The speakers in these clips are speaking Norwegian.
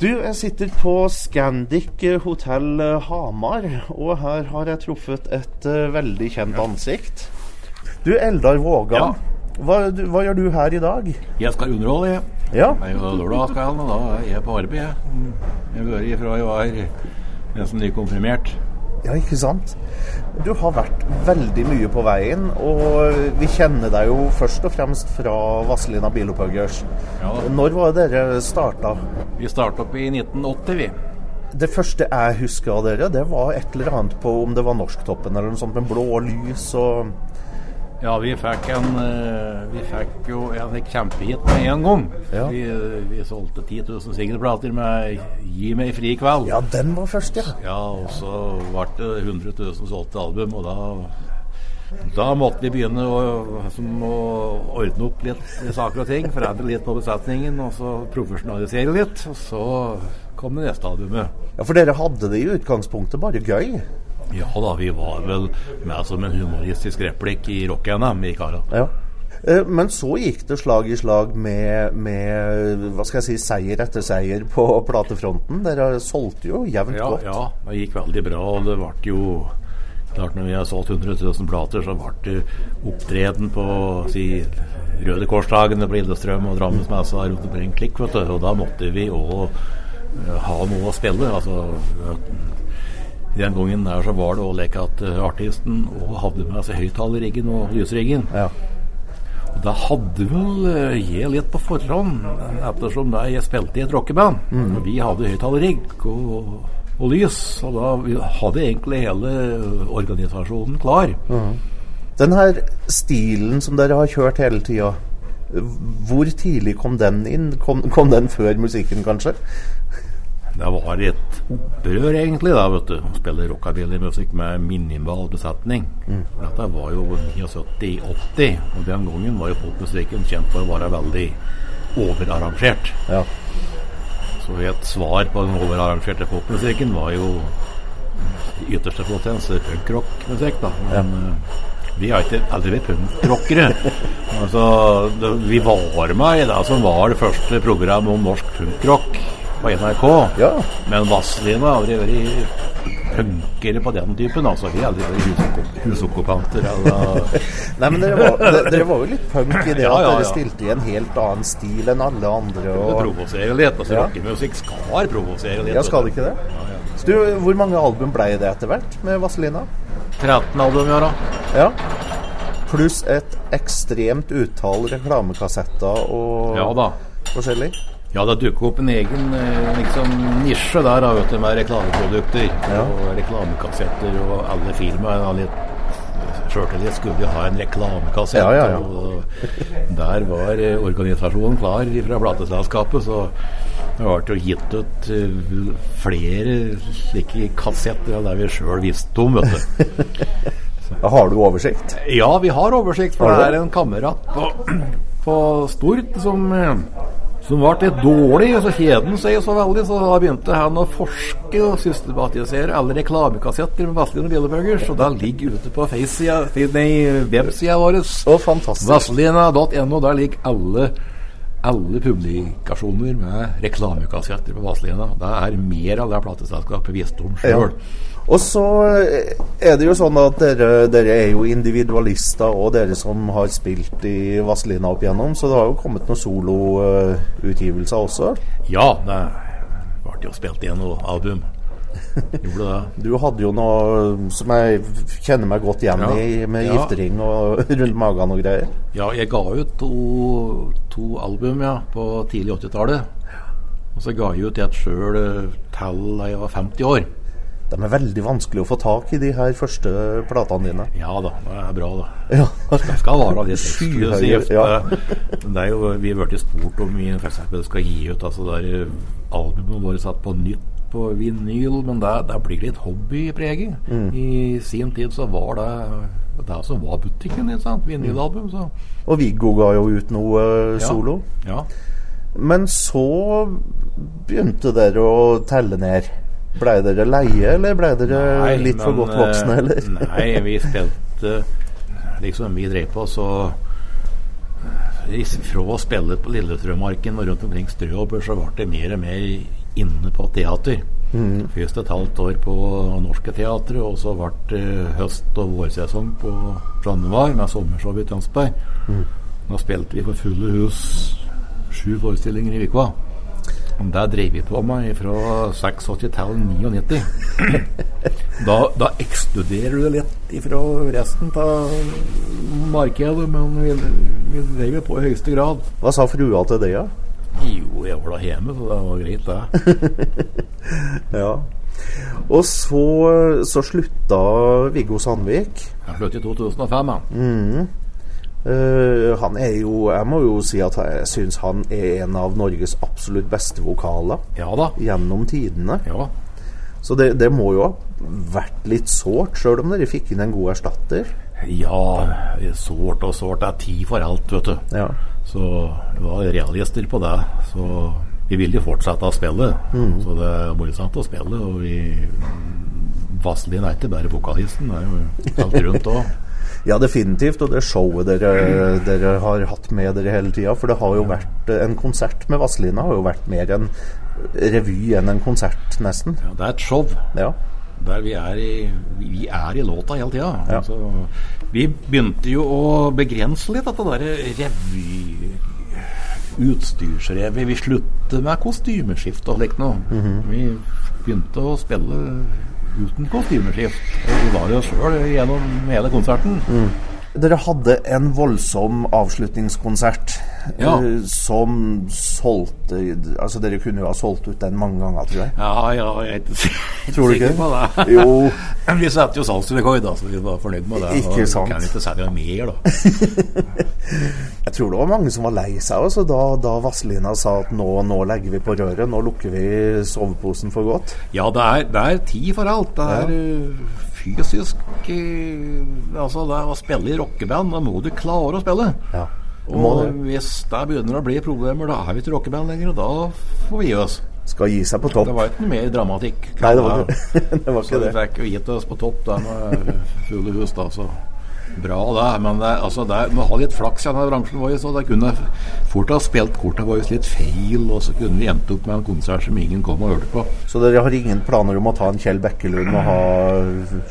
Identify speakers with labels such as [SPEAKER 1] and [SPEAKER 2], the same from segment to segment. [SPEAKER 1] Du, jeg sitter på Scandic hotell Hamar, og her har jeg truffet et eh, veldig kjent ansikt. Du, Eldar Vågan.
[SPEAKER 2] Ja.
[SPEAKER 1] Hva, du, hva gjør du her i dag?
[SPEAKER 2] Jeg skal underholde, jeg.
[SPEAKER 1] Ja,
[SPEAKER 2] Det er jo lørdag skal han, og da er jeg på arbeid, jeg. Mm. Jeg har vært ifra jeg var nesten nykonfirmert.
[SPEAKER 1] ja ikke sant? Du har vært veldig mye på veien, og vi kjenner deg jo først og fremst fra Vazelina Bilopphøggers.
[SPEAKER 2] Ja da.
[SPEAKER 1] Når var det dere starta?
[SPEAKER 2] Vi startet opp i 1980, vi.
[SPEAKER 1] Det første jeg husker av dere, det var et eller annet på om det var Norsktoppen eller noe sånt med blå lys og
[SPEAKER 2] Ja, vi fikk en eh, Vi fikk jo en kjempehit med en gang.
[SPEAKER 1] Ja.
[SPEAKER 2] Vi, eh, vi solgte 10 000 singelplater med 'Gi meg fri kveld'.
[SPEAKER 1] Ja, den var først, ja.
[SPEAKER 2] Ja, og så ble det 100 000 solgte album, og da da måtte vi begynne å, som å ordne opp litt i saker og ting. Forandre litt på besetningen og så profesjonalisere litt. Og så kom det neste albumet.
[SPEAKER 1] Ja, For dere hadde det i utgangspunktet bare gøy.
[SPEAKER 2] Ja da, vi var vel med som en humoristisk replikk i rock-NM i Kara.
[SPEAKER 1] Ja. Eh, Men så gikk det slag i slag med, med hva skal jeg si, seier etter seier på platefronten. Dere solgte jo jevnt
[SPEAKER 2] Ja,
[SPEAKER 1] godt.
[SPEAKER 2] ja, det gikk veldig bra, og det ble jo klart Når vi har solgt 100 000 plater, så ble det opptreden på si, Røde Korsdagene på Lillestrøm og Drammensmessa rundt omkring klikk, vet du. Og da måtte vi òg ha noe å spille. Altså eh, den gangen der så var det òg lek at eh, artisten og hadde med seg høyttalerriggen og lysriggen.
[SPEAKER 1] Ja.
[SPEAKER 2] Og da hadde vel eh, jeg litt på forhånd, ettersom da jeg spilte i et rockeband. Og Vi hadde høyttalerrigg og, og lys, og da vi hadde egentlig hele organisasjonen klar.
[SPEAKER 1] Den her stilen som dere har kjørt hele tida, hvor tidlig kom den inn? Kom, kom den før musikken, kanskje?
[SPEAKER 2] Det var et opprør, egentlig, da, vet du. Å spille rockabillymusikk med minimal besetning. For Dette var jo 79-80, og den gangen var jo popmusikken kjent for å være veldig overarrangert.
[SPEAKER 1] Ja.
[SPEAKER 2] Så et svar på den overarrangerte popmusikken var jo i ytterste potens punkrockmusikk, da. Men eh, vi har ikke aldri vært punkrockere. altså, det, vi var med i det som var det første programmet om norsk punkrock på NRK.
[SPEAKER 1] ja.
[SPEAKER 2] Men Vazelina har aldri vært punkere på den typen. altså Vi har aldri vært husokku- husokkupanter eller
[SPEAKER 1] Nei, men dere var, de- dere var jo litt punk i det
[SPEAKER 2] Ja,
[SPEAKER 1] at
[SPEAKER 2] ja,
[SPEAKER 1] dere
[SPEAKER 2] ja.
[SPEAKER 1] stilte i en helt annen stil enn alle andre. Og,
[SPEAKER 2] provosere litt. altså
[SPEAKER 1] Ja.
[SPEAKER 2] Rockemusikk skal provosere litt.
[SPEAKER 1] ja, skal det ikke det?
[SPEAKER 2] Ja, ja.
[SPEAKER 1] Du, hvor mange album ble det etter hvert med Vazelina?
[SPEAKER 2] 13 album i år, da.
[SPEAKER 1] Ja. Pluss et ekstremt utall reklamekassetter og
[SPEAKER 2] Ja da.
[SPEAKER 1] forskjellig.
[SPEAKER 2] Ja, det dukker opp en egen eh, liksom, nisje der da, vet du, med reklameprodukter
[SPEAKER 1] Ja.
[SPEAKER 2] og reklamekassetter. Og alle firmaer har litt eh, Sjøltillit skulle jo ha en reklamekassett.
[SPEAKER 1] Ja, ja, ja.
[SPEAKER 2] Og der var eh, organisasjonen klar fra plateselskapet, så det ble jo gitt ut eh, flere slike kassetter enn det vi sjøl visste om, vet du.
[SPEAKER 1] Har du oversikt?
[SPEAKER 2] Ja, vi har oversikt, for
[SPEAKER 1] Har du
[SPEAKER 2] det er en kamerat på, på Stord som, eh, som ble litt dårlig. og Så kjeden seg så veldig, så da begynte han å forske og systematisere alle reklamekassetter med Vazelina Bilebøger. Så da ligger ute på face-sida- nei, websida vår,
[SPEAKER 1] Å, fantastisk.
[SPEAKER 2] vazelina.no, der ligger alle alle publikasjoner med reklamekassetter på Vazelina. Det er mer av det plateselskapet visste om
[SPEAKER 1] Ja.
[SPEAKER 2] sjøl.
[SPEAKER 1] Og så eh, er det jo sånn at dere, dere er jo individualister, og dere som har spilt i Vazelina opp igjennom, så det har jo kommet noen soloutgivelser også.
[SPEAKER 2] Ja, det ble jo spilt igjen noe album. Gjorde det.
[SPEAKER 1] Du hadde jo noe som jeg kjenner meg godt igjen
[SPEAKER 2] Ja.
[SPEAKER 1] i, med
[SPEAKER 2] Ja.
[SPEAKER 1] giftering og rundt magen og greier.
[SPEAKER 2] Ja, jeg ga ut to, to album ja, på tidlig 80-tallet. Og så ga jeg ut et sjøl eh, til da jeg var 50 år.
[SPEAKER 1] De er veldig vanskelig å få tak i, de her første platene dine.
[SPEAKER 2] Ja da, det er bra, da.
[SPEAKER 1] Ja.
[SPEAKER 2] Det skal være litt eksklusivt.
[SPEAKER 1] Ja.
[SPEAKER 2] eh. Det er jo, vi har blitt spurt om vi for eksempel skal gi ut altså der eh, albumet vårt satt på nytt på vinyl, men det, det blir litt hobbypreget. I sin tid så var det det som var butikken, ikke sant? Vinylalbum, så
[SPEAKER 1] Og Viggo ga jo ut noe eh,
[SPEAKER 2] Ja.
[SPEAKER 1] solo.
[SPEAKER 2] ja.
[SPEAKER 1] Men så begynte dere å telle ned. Blei dere leie, eller blei dere eh, litt for
[SPEAKER 2] men,
[SPEAKER 1] godt voksne,
[SPEAKER 2] eh,
[SPEAKER 1] eller?
[SPEAKER 2] nei, vi spilte Liksom vi drev på, så eh, Fra å spille på Lillestrømmarken og rundt omkring Strøhopper, så ble det mer og mer inne på teater.
[SPEAKER 1] Mm.
[SPEAKER 2] Først et halvt år på Norske Teatret, og så ble det eh, høst- og vårsesong på Chat Noir med sommershow i Tønsberg.
[SPEAKER 1] Mm.
[SPEAKER 2] Da spilte vi for fulle hus sju forestillinger i uka. Og Det drev vi på med fra 86 til 99. Da, da ekskluderer du det litt ifra resten av markedet, men vi, vi drev jo på i høyeste grad.
[SPEAKER 1] Hva sa frua til det, da?
[SPEAKER 2] Jo, jeg var da hjemme, så det var greit, det.
[SPEAKER 1] Ja. Og så, så slutta Viggo Sandvik.
[SPEAKER 2] Jeg sluttet i 2005, jeg.
[SPEAKER 1] Eh, han er jo Jeg må jo si at jeg syns han er en av Norges absolutt beste vokaler
[SPEAKER 2] Ja da.
[SPEAKER 1] gjennom tidene.
[SPEAKER 2] Ja.
[SPEAKER 1] Så det, det må jo ha vært litt sårt, sjøl om dere fikk inn en god erstatter.
[SPEAKER 2] ja, sårt og sårt. Det er tid for alt, vet du.
[SPEAKER 1] Ja.
[SPEAKER 2] Så vi var realister på det. Så vi ville jo fortsette å spille. Så det er morsomt å spille. Og vi Vazelin er ikke bare vokalisten, det er jo alt rundt òg.
[SPEAKER 1] ja, definitivt. Og det showet dere, dere har hatt med dere hele tida. For det har jo vært eh, En konsert med Vazelina har jo vært mer en revy enn en konsert, nesten.
[SPEAKER 2] Ja, det er et show.
[SPEAKER 1] Ja.
[SPEAKER 2] Der vi er i, vi er i låta hele tida.
[SPEAKER 1] Ja.
[SPEAKER 2] Altså, vi begynte jo å begrense litt dette derre revy... Utstyrsrevy. Vi sluttet med kostymeskift og slikt noe.
[SPEAKER 1] Mhm.
[SPEAKER 2] Vi begynte å spille uten kostymeskift. Og vi var jo sjøl gjennom hele konserten.
[SPEAKER 1] Mm. Dere hadde en voldsom avslutningskonsert
[SPEAKER 2] Ja.
[SPEAKER 1] eh, som solgte Altså, dere kunne jo ha solgt ut den mange ganger, tror jeg.
[SPEAKER 2] Ja, ja, jeg er ikke sikker
[SPEAKER 1] Tror du ikke?
[SPEAKER 2] på det.
[SPEAKER 1] Jo.
[SPEAKER 2] Vi satte jo salgsrekord, da, så vi var fornøyd med det.
[SPEAKER 1] Ikke
[SPEAKER 2] og
[SPEAKER 1] sant.
[SPEAKER 2] Kan vi ikke selge mer, da?
[SPEAKER 1] Jeg tror det var mange som var lei seg også, da, da Vazelina sa at nå, nå legger vi på røret, nå lukker vi soveposen for godt.
[SPEAKER 2] Ja, det er, det er tid for alt. Det er eh, fysisk eh, Altså, det er å spille i rockeband, da må du klare å spille.
[SPEAKER 1] Ja.
[SPEAKER 2] Og
[SPEAKER 1] Må det.
[SPEAKER 2] hvis det begynner å bli problemer, da er vi ikke rockeband lenger, og da får vi gi oss.
[SPEAKER 1] Skal gi seg på topp.
[SPEAKER 2] Det var ikke noe mer dramatikk.
[SPEAKER 1] Nei, det var, det var
[SPEAKER 2] Så
[SPEAKER 1] ikke
[SPEAKER 2] vi
[SPEAKER 1] det.
[SPEAKER 2] fikk jo gitt oss på topp der med fulle hus, da. Så bra, det. Men det, er- altså, det er- vi har litt flaks i denne bransjen vår, så det kunne fort ha spilt korta våre litt feil, og så kunne vi endt opp med en konsert som ingen kom og hørte på.
[SPEAKER 1] Så dere har ingen planer om å ta en Kjell Bekkelund og ha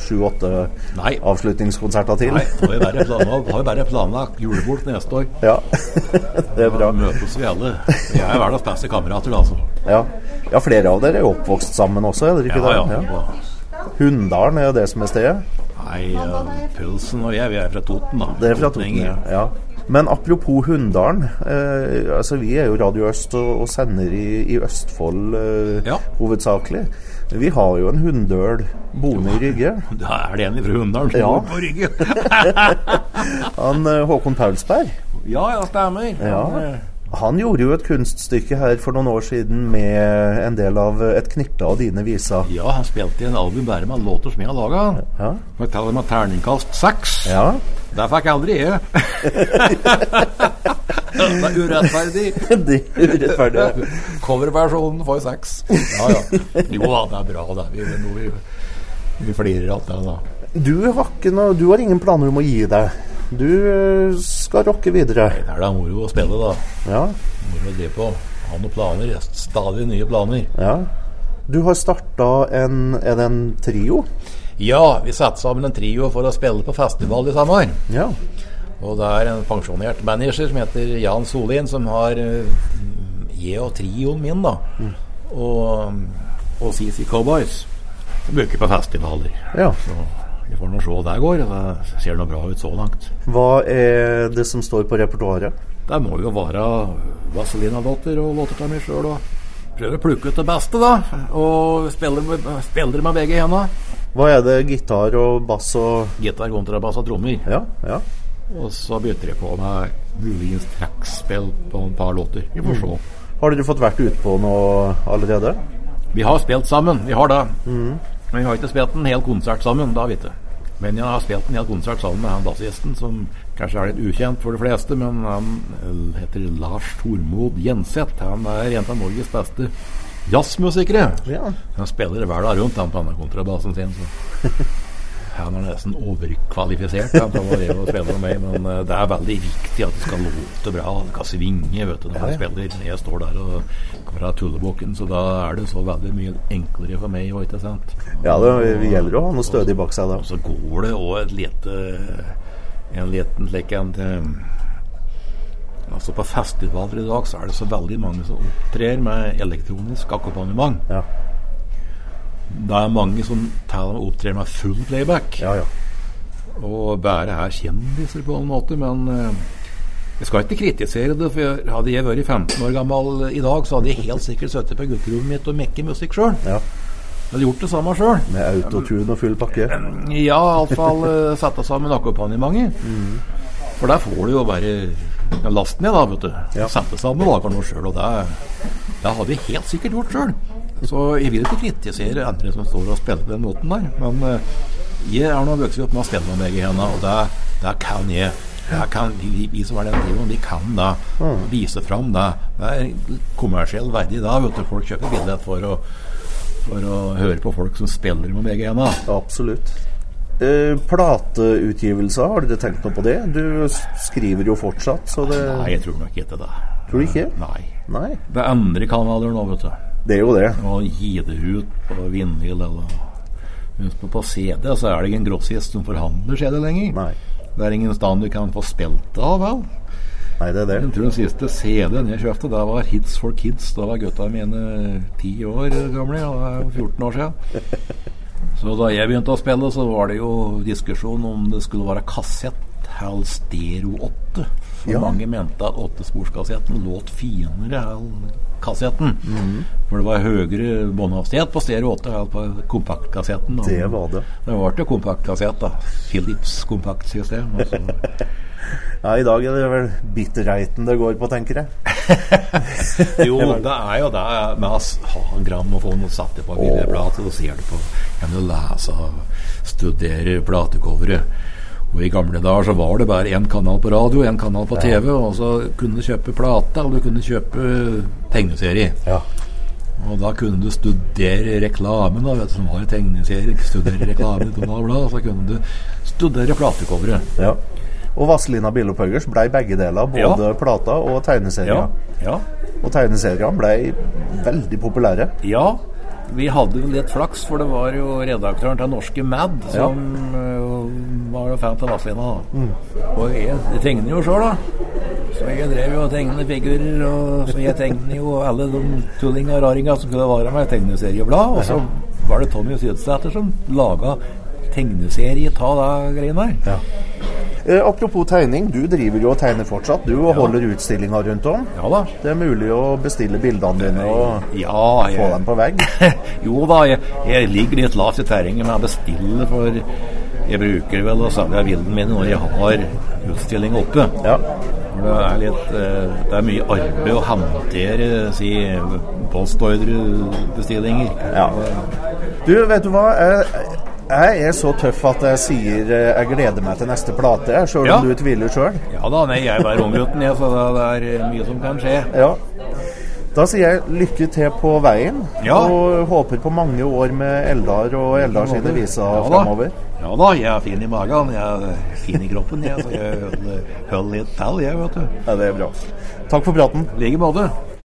[SPEAKER 1] sju-åtte
[SPEAKER 2] Nei.
[SPEAKER 1] avslutningskonserter til?
[SPEAKER 2] Nei, da har vi bare planlagt, har vi bare planlagt julebord til neste år.
[SPEAKER 1] Ja, det er
[SPEAKER 2] Da
[SPEAKER 1] bra.
[SPEAKER 2] møtes vi alle. Vi er verdens beste kamerater, da, altså.
[SPEAKER 1] Ja. ja, flere av dere er jo oppvokst sammen også, er dere ikke
[SPEAKER 2] Ja,
[SPEAKER 1] det?
[SPEAKER 2] ja.
[SPEAKER 1] Hunndalen er jo det som er stedet.
[SPEAKER 2] Nei, eh, Pølsen og jeg, vi er fra Toten, da.
[SPEAKER 1] Det er fra Toten, ja.
[SPEAKER 2] Totninger.
[SPEAKER 1] ja. Men apropos Hunndalen. Eh, altså vi er jo Radio Øst og, og sender i, i Østfold eh,
[SPEAKER 2] Ja.
[SPEAKER 1] hovedsakelig. Vi har jo en hunndøl boende i Rygge.
[SPEAKER 2] Da er det en fra Hunndalen som
[SPEAKER 1] Ja.
[SPEAKER 2] bor på Rygge.
[SPEAKER 1] Han, eh, Håkon Paulsberg
[SPEAKER 2] Ja, ja, stemmer.
[SPEAKER 1] Ja. han gjorde jo et kunststykke her for noen år siden med en del av eh, et knippe av dine viser.
[SPEAKER 2] Ja, han spilte i en album bare med låter som jeg har laga.
[SPEAKER 1] Ja.
[SPEAKER 2] Får kalle meg terningkast seks.
[SPEAKER 1] ja.
[SPEAKER 2] Det fikk jeg aldri jeg. det er urettferdig.
[SPEAKER 1] Det er urettferdig.
[SPEAKER 2] Coverversjonen får seks. Ja, ja. Jo da, det er bra, det. Vi, nå, vi, vi flirer av det, da.
[SPEAKER 1] Du har, ikke noe, du har ingen planer om å gi deg. Du eh, skal rocke videre.
[SPEAKER 2] Det er da moro å spille, da.
[SPEAKER 1] Ja.
[SPEAKER 2] Moro å drive på. Ha noen planer. Stadig nye planer.
[SPEAKER 1] ja. Du har starta en Er det en trio?
[SPEAKER 2] Ja, vi satte sammen en trio for å spille på festival i sommer.
[SPEAKER 1] Ja.
[SPEAKER 2] Og det er en pensjonert manager som heter Jan Solin, som har eh, jeg og trioen min, da. Og, og CC Cowboys. Vi Bruker på festivaler.
[SPEAKER 1] ja.
[SPEAKER 2] Så vi får nå se hva det går. Det ser nå bra ut så langt.
[SPEAKER 1] Hva er det som står på repertoaret?
[SPEAKER 2] Det må jo være Vazelina-låter og låter til meg sjøl. Prøver å plukke ut det beste, da. Og spiller med, spiller med begge hendene.
[SPEAKER 1] Hva er det gitar og bass og
[SPEAKER 2] Gitar, kontrabass og trommer.
[SPEAKER 1] Ja, ja.
[SPEAKER 2] Og så begynte jeg på med muligens trekkspill på et par låter. Vi får se.
[SPEAKER 1] Har dere fått vært ute på noe allerede?
[SPEAKER 2] Vi har spilt sammen, vi har det. Men vi har ikke spilt en hel konsert sammen, da, vet du. Men jeg har spilt en hel konsert sammen med han bassisten, som kanskje er litt ukjent for de fleste, men han eh, heter Lars Tormod Jenseth. Han er en av Norges beste jazzmusikere.
[SPEAKER 1] Ja.
[SPEAKER 2] Han spiller hver dag rundt, han på denne kontrabassen sin. Så. Han er nesten overkvalifisert han, til å være med og spille med meg, men eh, det er veldig viktig at det skal låte bra. Det skal svinge vet du, når
[SPEAKER 1] Ja, ja.
[SPEAKER 2] jeg spiller. Jeg står der og kommer fra tullebukken, så da er det så veldig mye enklere for meg òg, ikke sant.
[SPEAKER 1] Ja, det gjelder jo å ha noe stødig bak seg da.
[SPEAKER 2] Og så går det òg et lite En liten slik en eh, Altså På festivaler i dag så er det så veldig mange som opptrer med elektronisk akkompagnement.
[SPEAKER 1] Ja,
[SPEAKER 2] Det er mange som taler om å opptre med full playback.
[SPEAKER 1] ja. ja.
[SPEAKER 2] Og bare er kjendiser på en måte, men eh, jeg skal ikke kritisere det. For jeg- hadde jeg vært 15 år gammel i dag, så hadde jeg helt sikkert sittet på gutterommet mitt og mekket musikk sjøl.
[SPEAKER 1] ja.
[SPEAKER 2] Hadde gjort det samme sjøl.
[SPEAKER 1] Med autotune og full pakke.
[SPEAKER 2] Eh, Ja, iallfall uh, sette sammen akkompagnementer. For der får du jo bare lasten ned, da, vet du.
[SPEAKER 1] Ja.
[SPEAKER 2] Sette sammen lager noe sjøl, og det, det hadde jeg helt sikkert gjort sjøl. Så jeg vil ikke kritisere andre som står og spiller på den måten der, men eh, jeg er nå vokst opp med å spille med begge hendene, og det, det kan jeg. Jeg kan, vi, vi som er den tiden, vi kan det. Vise fram det. Det er kommersiell verdi da, vet du. Folk kjøper billett for å, for å høre på folk som spiller med begge hendene.
[SPEAKER 1] Absolutt. Eh, plateutgivelser, har dere tenkt noe på det? Du s- skriver jo fortsatt, så det
[SPEAKER 2] Nei, jeg tror nok ikke det.
[SPEAKER 1] Tror du ikke?
[SPEAKER 2] Nei.
[SPEAKER 1] Nei.
[SPEAKER 2] Det er andre kanaler nå, vet du.
[SPEAKER 1] Det er jo det.
[SPEAKER 2] Å gi det ut på vinyl eller Husk på, på CD så er det ingen grossist som forhandler CD lenger.
[SPEAKER 1] Nei.
[SPEAKER 2] Det er ingen stand du kan få spilt det av, vel.
[SPEAKER 1] Nei, det er det.
[SPEAKER 2] Jeg tror den siste CD-en jeg kjøpte, det var Hits for Kids. Da var gutta mine ti år gamle, og det er jo 14 år siden. Så da jeg begynte å spille, så var det jo diskusjon om det skulle være kassett eller stereo 8. For
[SPEAKER 1] Ja.
[SPEAKER 2] mange mente at åttesporskassetten låt finere enn kassetten.
[SPEAKER 1] Mhm.
[SPEAKER 2] For det var høyere båndhastighet på stereo 8 enn på kompaktkassetten. og-
[SPEAKER 1] Det var det.
[SPEAKER 2] Det ble jo kompaktkassett, da. Philips kompaktsystem. altså. og så-
[SPEAKER 1] Ja, I dag er det vel bitterheiten det går på, tenker jeg.
[SPEAKER 2] Jo, det er jo det med å ha grammofon og sette på bildeplate, så ser du på Kan du lese og studere platecoveret. Og I gamle dager så var det bare én kanal på radio, én kanal på TV, og så kunne du kjøpe plate, og du kunne kjøpe tegneserie.
[SPEAKER 1] Ja.
[SPEAKER 2] Og da kunne du studere reklamen, da, vet du, som var i tegneserie, studere reklamen, bla, bla, bla, så kunne du studere platecoveret.
[SPEAKER 1] ja. Og Vazelina Billopphuggers blei begge deler, både
[SPEAKER 2] Ja.
[SPEAKER 1] plata og tegneserien.
[SPEAKER 2] ja.
[SPEAKER 1] Og tegneseriene blei veldig populære.
[SPEAKER 2] Ja, vi hadde jo litt flaks, for det var jo redaktøren til norske Mad som øh, var jo fan av Vazelina. da. Og jeg, jeg tegner jo sjøl, da. Så jeg drev jo og tegnet figurer. Og så jeg tegnet jo alle de tullinga og raringa som kunne være med i tegneserieblad. Og så var det Tommy Sydsæter som laga tegneserie av de greiene der.
[SPEAKER 1] Eh, apropos tegning, du driver jo og tegner fortsatt. Du og holder utstillinger rundt om.
[SPEAKER 2] Ja da.
[SPEAKER 1] Det er mulig å bestille bildene dine og
[SPEAKER 2] Ja,
[SPEAKER 1] få
[SPEAKER 2] jeg,
[SPEAKER 1] dem på vegg.
[SPEAKER 2] jo da, jeg, jeg ligger litt lavt i terrenget, men jeg bestiller for Jeg bruker vel å selge bildene mine når jeg har utstilling oppe.
[SPEAKER 1] Ja.
[SPEAKER 2] For det er litt eh, Det er mye arbeid å håndtere si, postordrebestillinger.
[SPEAKER 1] ja. Du, vet du hva? Jeg, jeg er så tøff at jeg sier eh, jeg gleder meg til neste plate, jeg, sjøl
[SPEAKER 2] Ja.
[SPEAKER 1] om du tviler sjøl.
[SPEAKER 2] Ja da, nei, jeg er bare unggutten, jeg, så det, det er eh, mye som kan skje.
[SPEAKER 1] Ja. Da sier jeg lykke til på veien,
[SPEAKER 2] Ja.
[SPEAKER 1] og håper på mange år med Eldar og Eldar sine viser
[SPEAKER 2] Ja da.
[SPEAKER 1] framover.
[SPEAKER 2] Ja da, jeg er fin i magen, jeg er fin i kroppen, jeg, så jeg holder- holder litt til, jeg, vet du.
[SPEAKER 1] Ja, det er bra. Takk for praten.
[SPEAKER 2] I like måte.